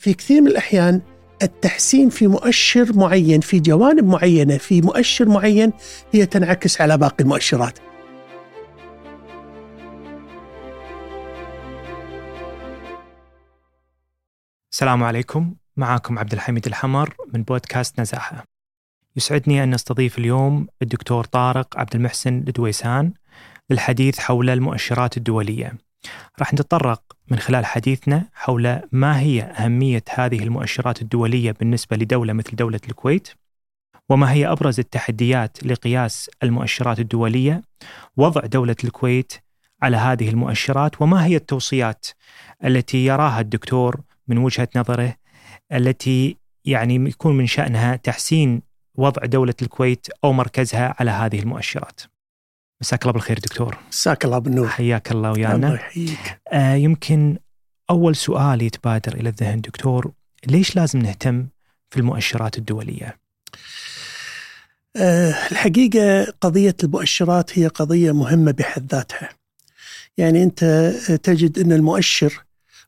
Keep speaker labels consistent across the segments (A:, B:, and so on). A: في كثير من الأحيان التحسين في مؤشر معين في جوانب معينة في مؤشر معين هي تنعكس على باقي المؤشرات
B: السلام عليكم معاكم عبد الحميد الحمر من بودكاست نزاهة يسعدني أن أستضيف اليوم الدكتور طارق عبد المحسن الدويسان للحديث حول المؤشرات الدولية راح نتطرق من خلال حديثنا حول ما هي أهمية هذه المؤشرات الدولية بالنسبة لدولة مثل دولة الكويت وما هي أبرز التحديات لقياس المؤشرات الدولية وضع دولة الكويت على هذه المؤشرات وما هي التوصيات التي يراها الدكتور من وجهة نظره التي يعني يكون من شأنها تحسين وضع دولة الكويت أو مركزها على هذه المؤشرات مساك الله بالخير دكتور
A: مساك الله بالنور
B: حياك الله
A: الله
B: ويانا
A: يحييك
B: آه، يمكن أول سؤال يتبادر إلى الذهن دكتور ليش لازم نهتم في المؤشرات الدولية؟
A: آه، الحقيقة قضية المؤشرات هي قضية مهمة بحد ذاتها يعني أنت تجد أن المؤشر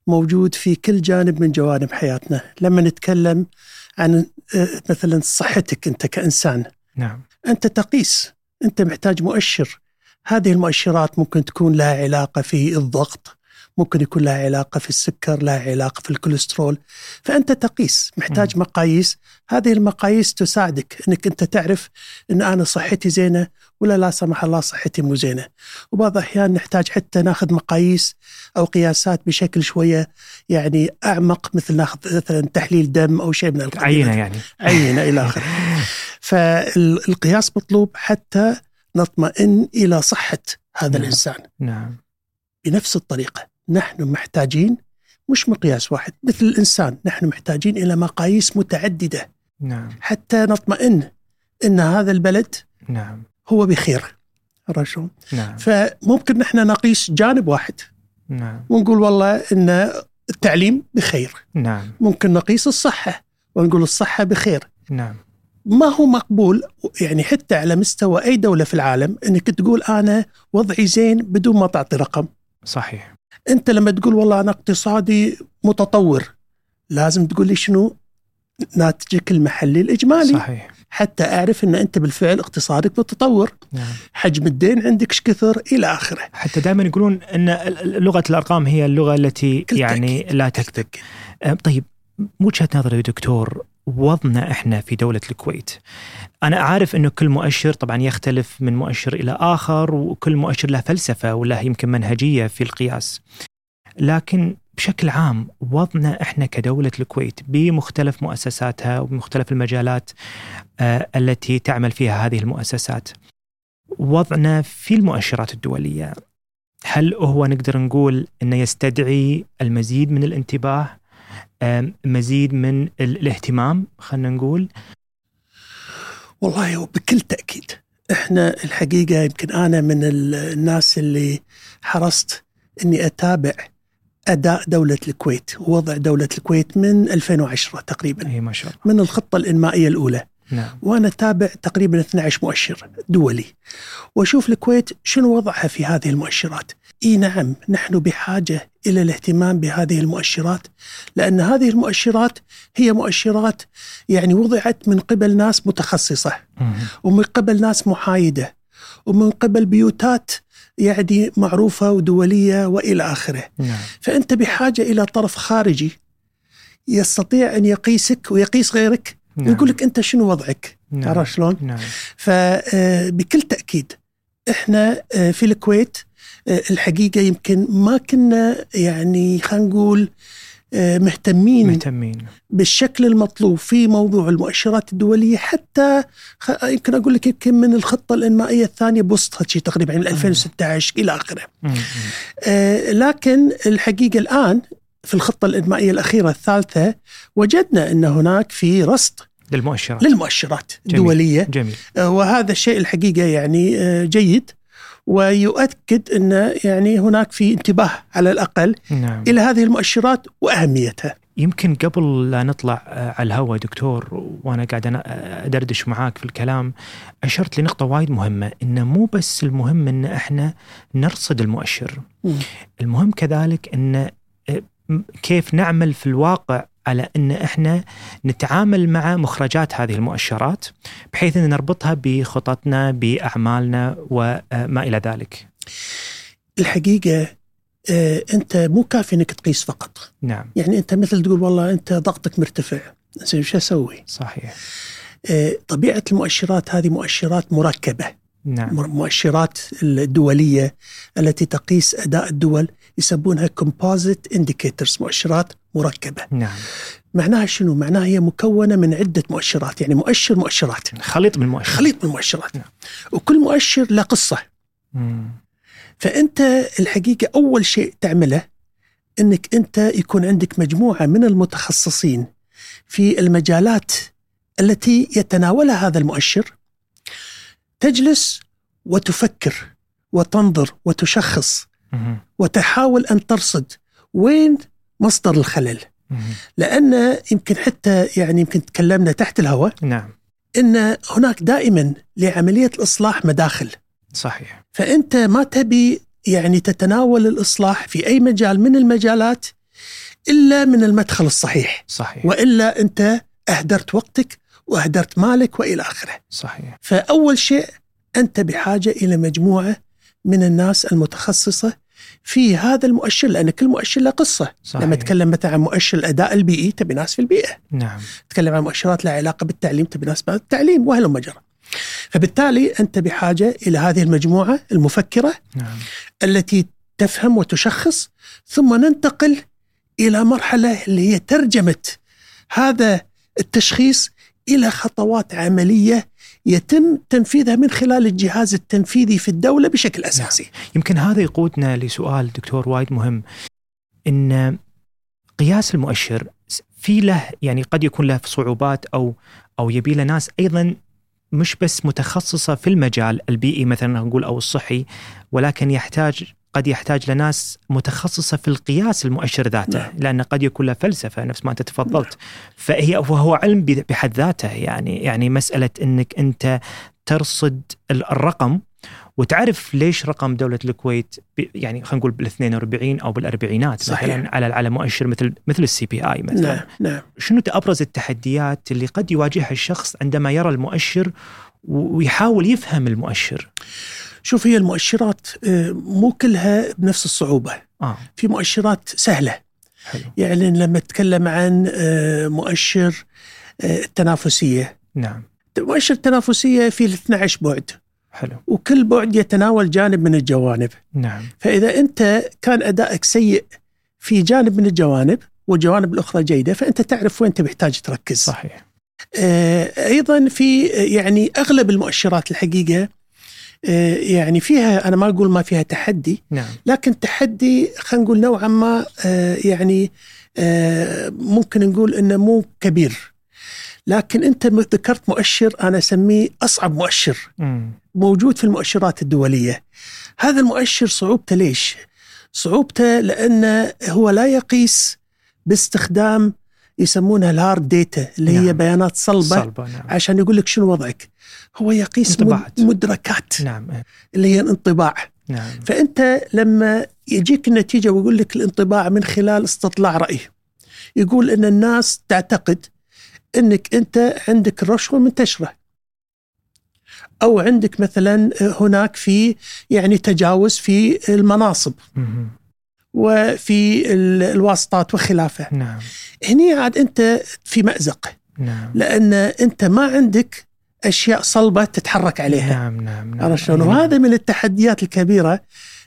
A: موجود في كل جانب من جوانب حياتنا لما نتكلم عن آه، مثلا صحتك أنت كإنسان
B: نعم
A: أنت تقيس أنت محتاج مؤشر هذه المؤشرات ممكن تكون لها علاقة في الضغط ممكن يكون لها علاقة في السكر لها علاقة في الكوليسترول فأنت تقيس محتاج مقاييس هذه المقاييس تساعدك أنك أنت تعرف أن أنا صحتي زينة ولا لا سمح الله صحتي مو زينة وبعض الأحيان نحتاج حتى ناخذ مقاييس أو قياسات بشكل شوية يعني أعمق مثل ناخذ مثلا تحليل دم أو شيء من القبيل
B: عينة يعني
A: عينة إلى آخره فالقياس مطلوب حتى نطمئن إلى صحة هذا
B: نعم.
A: الإنسان
B: نعم
A: بنفس الطريقة نحن محتاجين مش مقياس واحد مثل الإنسان نحن محتاجين إلى مقاييس متعددة
B: نعم
A: حتى نطمئن أن هذا البلد
B: نعم
A: هو بخير عرفت شلون؟
B: نعم
A: فممكن نحن نقيس جانب واحد
B: نعم
A: ونقول والله أن التعليم بخير
B: نعم
A: ممكن نقيس الصحة ونقول الصحة بخير
B: نعم
A: ما هو مقبول يعني حتى على مستوى اي دوله في العالم انك تقول انا وضعي زين بدون ما تعطي رقم،
B: صحيح
A: انت لما تقول والله انا اقتصادي متطور لازم تقول لي شنو ناتجك المحلي الاجمالي صح.
B: صحيح
A: حتى اعرف ان انت بالفعل اقتصادك متطور،
B: نعم
A: حجم الدين عندك ايش كثر الى اخره.
B: حتى دائما يقولون ان ال- ال- لغه الارقام هي اللغه التي
A: كل
B: يعني
A: تأكيد.
B: لا تكذب أه، طيب وجهه نظري يا دكتور وضعنا احنا في دوله الكويت انا عارف انه كل مؤشر طبعا يختلف من مؤشر الى اخر وكل مؤشر له فلسفه وله يمكن منهجيه في القياس لكن بشكل عام وضعنا احنا كدوله الكويت بمختلف مؤسساتها وبمختلف المجالات آه، التي تعمل فيها هذه المؤسسات وضعنا في المؤشرات الدوليه هل هو نقدر نقول انه يستدعي المزيد من الانتباه آم، مزيد من ال- الاهتمام خلينا نقول
A: والله وبكل تأكيد احنا الحقيقة يمكن أنا من ال- الناس اللي حرصت أني أتابع أداء دولة الكويت ووضع دولة الكويت من 2010 تقريبا
B: اي ما شاء الله
A: من الخطة الإنمائية الأولى
B: نعم
A: وأنا أتابع تقريبا 12 مؤشر دولي وأشوف الكويت شنو وضعها في هذه المؤشرات إي نعم نحن بحاجة إلى الاهتمام بهذه المؤشرات لأن هذه المؤشرات هي مؤشرات يعني وضعت من قبل ناس متخصصة
B: مهم.
A: ومن قبل ناس محايدة ومن قبل بيوتات يعني معروفة ودولية وإلى آخره
B: نعم
A: فأنت بحاجة إلى طرف خارجي يستطيع أن يقيسك ويقيس غيرك
B: نعم.
A: ويقول لك أنت شنو وضعك
B: نعم.
A: عرفت شلون
B: نعم
A: فبكل تأكيد إحنا آه، في الكويت آه، الحقيقة يمكن ما كنا يعني خلينا نقول آه، مهتمين
B: مهتمين
A: بالشكل المطلوب في موضوع المؤشرات الدوليه حتى خ- يمكن اقول لك يمكن من الخطه الانمائيه الثانيه بوسطها شي تقريبا من 2016 الى اخره.
B: مهم.
A: آه، لكن الحقيقه الان في الخطه الانمائيه الاخيره الثالثه وجدنا ان هناك في رصد
B: للمؤشرات
A: للمؤشرات
B: جميل.
A: الدوليه
B: جميل
A: آه، وهذا الشيء الحقيقه يعني آه، جيد ويؤكد ان يعني هناك في انتباه على الاقل
B: نعم
A: الى هذه المؤشرات واهميتها.
B: يمكن قبل لا نطلع آه، على الهواء دكتور وانا قاعد أنا آه، ادردش معاك في الكلام اشرت لنقطه وايد مهمه انه مو بس المهم ان احنا نرصد المؤشر
A: مم.
B: المهم كذلك ان آه، م- كيف نعمل في الواقع على ان احنا نتعامل مع مخرجات هذه المؤشرات بحيث ان نربطها بخططنا باعمالنا وما الى ذلك.
A: الحقيقه آه، انت مو كافي انك تقيس فقط
B: نعم
A: يعني انت مثل تقول والله انت ضغطك مرتفع زين شو اسوي
B: صحيح
A: آه، طبيعه المؤشرات هذه مؤشرات مركبه
B: نعم
A: المؤشرات الدوليه التي تقيس اداء الدول يسمونها composite indicators مؤشرات مركبه
B: نعم
A: معناها شنو معناها هي مكونه من عده مؤشرات يعني مؤشر مؤشرات
B: خليط من المؤشر
A: خليط من مؤشرات
B: نعم.
A: وكل مؤشر له قصه
B: مم.
A: فانت الحقيقه اول شيء تعمله انك انت يكون عندك مجموعه من المتخصصين في المجالات التي يتناولها هذا المؤشر تجلس وتفكر وتنظر وتشخص
B: مم.
A: وتحاول ان ترصد وين مصدر الخلل
B: مم.
A: لان يمكن حتى يعني يمكن تكلمنا تحت الهواء
B: نعم
A: ان هناك دائما لعمليه الاصلاح مداخل
B: صحيح
A: فانت ما تبي يعني تتناول الاصلاح في اي مجال من المجالات الا من المدخل الصحيح
B: صحيح
A: والا انت اهدرت وقتك واهدرت مالك والى اخره
B: صحيح
A: فاول شيء انت بحاجه الى مجموعه من الناس المتخصصه في هذا المؤشر لان كل مؤشر له قصه
B: صحيح
A: لما اتكلم مثلا عن مؤشر الاداء البيئي تبي ناس في البيئه
B: نعم
A: تتكلم عن مؤشرات لها علاقه بالتعليم تبي ناس بعد التعليم وهلم جرى فبالتالي انت بحاجه الى هذه المجموعه المفكره
B: نعم
A: التي تفهم وتشخص ثم ننتقل الى مرحله اللي هي ترجمه هذا التشخيص الى خطوات عمليه يتم تنفيذها من خلال الجهاز التنفيذي في الدوله بشكل اساسي.
B: يمكن هذا يقودنا لسؤال دكتور وايد مهم ان قياس المؤشر في له يعني قد يكون له صعوبات او او يبي له ناس ايضا مش بس متخصصه في المجال البيئي مثلا نقول او الصحي ولكن يحتاج قد يحتاج لناس متخصصه في القياس المؤشر ذاته
A: نعم.
B: لان قد يكون له فلسفه نفس ما انت تفضلت فهي وهو علم بحد ذاته يعني يعني مساله انك انت ترصد ال- الرقم وتعرف ليش رقم دولة الكويت ب- يعني خلينا نقول بال 42 او بالاربعينات
A: صحيح.
B: مثلا على على مؤشر مثل مثل السي بي اي مثلا
A: نعم نعم
B: شنو ابرز التحديات اللي قد يواجهها الشخص عندما يرى المؤشر و- ويحاول يفهم المؤشر
A: شوف هي المؤشرات آه، مو كلها بنفس الصعوبه،
B: اه
A: في مؤشرات سهله
B: حلو
A: يعني لما اتكلم عن آه، مؤشر آه، التنافسيه،
B: نعم
A: مؤشر التنافسيه فيه 12 بعد
B: حلو
A: وكل بعد يتناول جانب من الجوانب
B: نعم
A: فإذا أنت كان أدائك سيء في جانب من الجوانب والجوانب الأخرى جيدة فأنت تعرف وين تحتاج تركز
B: صحيح
A: آه أيضا في آه، يعني أغلب المؤشرات الحقيقة آه يعني فيها أنا ما أقول ما فيها تحدي
B: نعم
A: لكن تحدي خلينا نقول نوعا ما آه يعني آه ممكن نقول أنه مو كبير لكن أنت ذكرت مؤشر أنا أسميه أصعب مؤشر
B: مم.
A: موجود في المؤشرات الدولية هذا المؤشر صعوبته ليش؟ صعوبته لأنه هو لا يقيس باستخدام يسمونها الهارد ديتا اللي هي
B: نعم.
A: بيانات صلبة, صلبة.
B: صلبة نعم
A: عشان يقول لك شنو وضعك هو يقيس مد-
B: انطباعات.
A: مدركات
B: نعم إيه.
A: اللي هي الانطباع
B: نعم
A: فأنت لما يجيك النتيجة ويقول لك الانطباع من خلال استطلاع رأي يقول أن الناس تعتقد أنك أنت عندك رشوة منتشرة أو عندك مثلا هناك في يعني تجاوز في المناصب
B: مم.
A: وفي ال- الواسطات وخلافه
B: نعم
A: هني عاد أنت في مأزق
B: نعم
A: لأن أنت ما عندك أشياء صلبة تتحرك عليها
B: نعم نعم نعم
A: عرفت شلون؟
B: يعني-
A: وهذا من التحديات الكبيره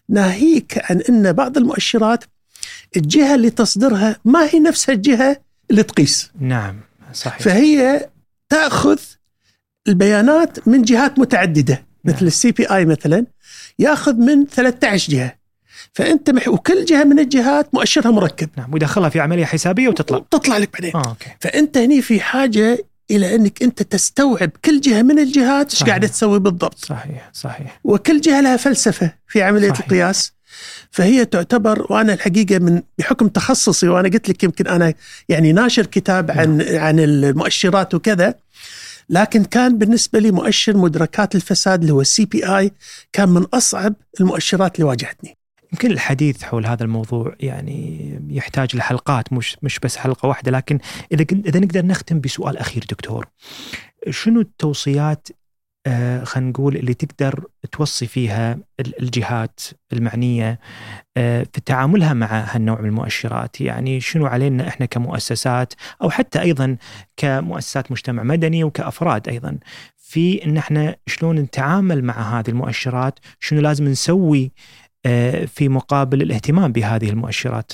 A: ناهيك عن ان بعض المؤشرات الجهه اللي تصدرها ما هي نفسها الجهه اللي تقيس،
B: نعم صحيح
A: فهي تاخذ البيانات من جهات متعدده مثل
B: نعم.
A: السي بي اي مثلا ياخذ من 13 جهه فانت مح وكل جهه من الجهات مؤشرها مركب
B: نعم ويدخلها في عمليه حسابيه وتطلع
A: تطلع لك بعدين
B: اه اوكي
A: فانت هني في حاجه الى انك انت تستوعب كل جهه من الجهات ايش
B: صحيح.
A: قاعده تسوي بالضبط
B: صحيح صحيح
A: وكل جهه لها فلسفه في عمليه
B: صحيح.
A: صحيح. القياس فهي تعتبر وانا الحقيقه من بحكم تخصصي وانا قلت لك يمكن انا يعني ناشر كتاب عن عن المؤشرات وكذا لكن كان بالنسبه لي مؤشر مدركات الفساد اللي هو السي بي اي كان من اصعب المؤشرات اللي واجهتني.
B: يمكن الحديث حول هذا الموضوع يعني يحتاج لحلقات مش مش بس حلقه واحده لكن اذا كن- اذا نقدر نختم بسؤال اخير دكتور شنو التوصيات آه، خلينا نقول اللي تقدر توصي فيها ال- الجهات المعنيه آه، في تعاملها مع هالنوع من المؤشرات يعني شنو علينا احنا كمؤسسات او حتى ايضا كمؤسسات مجتمع مدني وكافراد ايضا في ان احنا شلون نتعامل مع هذه المؤشرات شنو لازم نسوي آه، في مقابل الاهتمام بهذه المؤشرات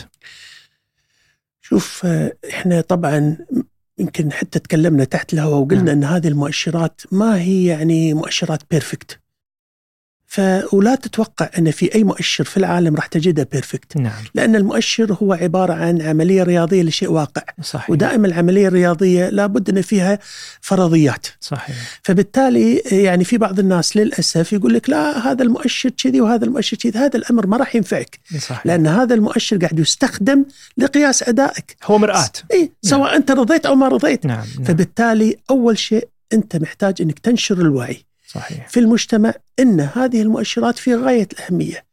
A: شوف آه، احنا طبعا يمكن حتى تكلمنا تحت الهواء وقلنا
B: نعم.
A: نعم. ان هذه المؤشرات ما هي يعني مؤشرات بيرفكت ف ولا تتوقع ان في اي مؤشر في العالم راح تجده بيرفكت
B: نعم
A: لان المؤشر هو عباره عن عمليه رياضيه لشيء واقع
B: صحيح
A: ودائما العمليه الرياضيه لابد ان فيها فرضيات
B: صحيح
A: فبالتالي يعني في بعض الناس للاسف يقول لك لا هذا المؤشر كذي وهذا المؤشر كذي هذا الامر ما راح ينفعك
B: صحيح
A: لان هذا المؤشر قاعد يستخدم لقياس ادائك
B: هو مرآة
A: اي إيه، سواء انت رضيت او ما رضيت
B: نعم نعم
A: فبالتالي اول شيء انت محتاج انك تنشر الوعي
B: صحيح
A: في المجتمع ان هذه المؤشرات في غايه الاهميه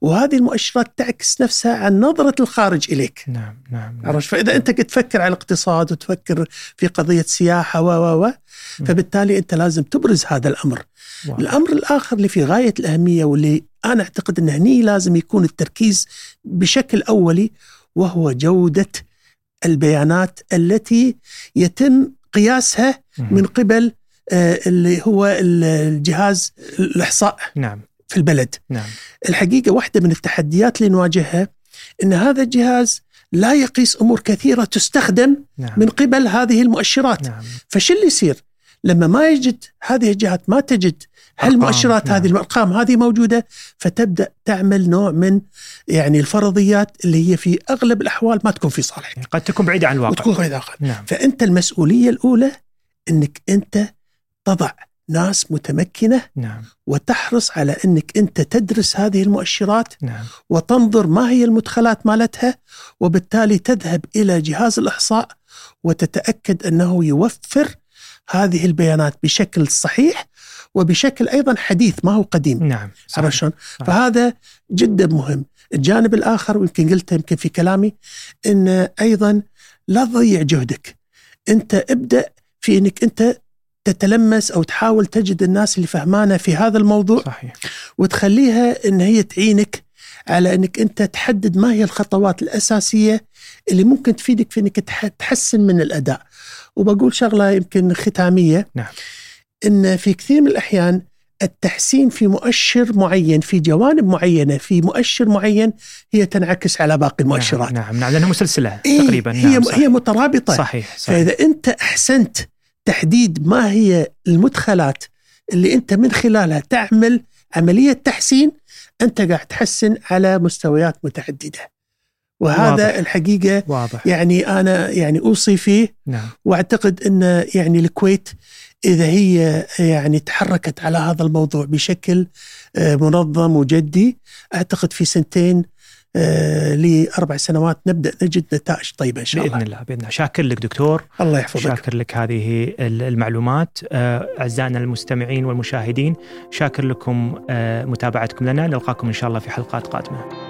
A: وهذه المؤشرات تعكس نفسها عن نظره الخارج اليك
B: نعم نعم نعم.
A: عرفت فاذا انت قد تفكر على الاقتصاد وتفكر في قضيه سياحه و و
B: نعم.
A: و فبالتالي انت لازم تبرز هذا الامر
B: واضح.
A: الامر الاخر اللي في غايه الاهميه واللي انا اعتقد ان هني لازم يكون التركيز بشكل اولي وهو جوده البيانات التي يتم قياسها
B: مم.
A: من قبل آه، اللي هو ال- الجهاز الاحصاء
B: نعم
A: في البلد
B: نعم
A: الحقيقه واحده من التحديات اللي نواجهها ان هذا الجهاز لا يقيس امور كثيره تستخدم
B: نعم
A: من قبل هذه المؤشرات
B: نعم
A: فش اللي يصير؟ لما ما يجد هذه الجهات ما تجد هل
B: أرقام،
A: المؤشرات
B: نعم.
A: هذه الارقام هذه موجوده فتبدا تعمل نوع من يعني الفرضيات اللي هي في اغلب الاحوال ما تكون في صالحك
B: قد تكون بعيدة عن الواقع
A: وتكون غير داخل
B: نعم
A: فانت المسؤوليه الاولى انك انت تضع ناس متمكنه
B: نعم
A: وتحرص على انك انت تدرس هذه المؤشرات
B: نعم
A: وتنظر ما هي المدخلات مالتها وبالتالي تذهب الى جهاز الاحصاء وتتاكد انه يوفر هذه البيانات بشكل صحيح وبشكل ايضا حديث ما هو قديم
B: نعم
A: عرفت
B: صحيح
A: شلون؟ فهذا جدا مهم، الجانب الاخر ويمكن قلته يمكن في كلامي ان ايضا لا تضيع جهدك. انت ابدا في انك انت تتلمس او تحاول تجد الناس اللي فهمانه في هذا الموضوع
B: صحيح نعم،
A: وتخليها ان هي تعينك على انك انت تحدد ما هي الخطوات الاساسيه اللي ممكن تفيدك في انك تح- تحسن من الاداء. وبقول شغله يمكن ختاميه
B: نعم.
A: ان في كثير من الاحيان التحسين في مؤشر معين في جوانب معينه في مؤشر معين هي تنعكس على باقي المؤشرات.
B: نعم نعم, نعم. لأنها مسلسلة
A: إيه،
B: تقريبا
A: هي
B: نعم
A: هي مترابطه
B: صحيح صحيح
A: فإذا أنت أحسنت تحديد ما هي المدخلات اللي أنت من خلالها تعمل عملية تحسين أنت قاعد تحسن على مستويات متعددة وهذا
B: واضح.
A: واضح. الحقيقة
B: واضح
A: يعني أنا يعني أوصي فيه
B: نعم
A: وأعتقد أن يعني الكويت إذا هي يعني تحركت على هذا الموضوع بشكل آه، منظم وجدي أعتقد في سنتين آه، لأربع سنوات نبدأ نجد نتائج طيبة إن شاء
B: بإذن
A: الله
B: الله بإذن الله شاكر لك دكتور
A: الله يحفظك
B: شاكر لك هذه ال- المعلومات آه، أعزائنا المستمعين والمشاهدين شاكر لكم آه، متابعتكم لنا نلقاكم إن شاء الله في حلقات قادمة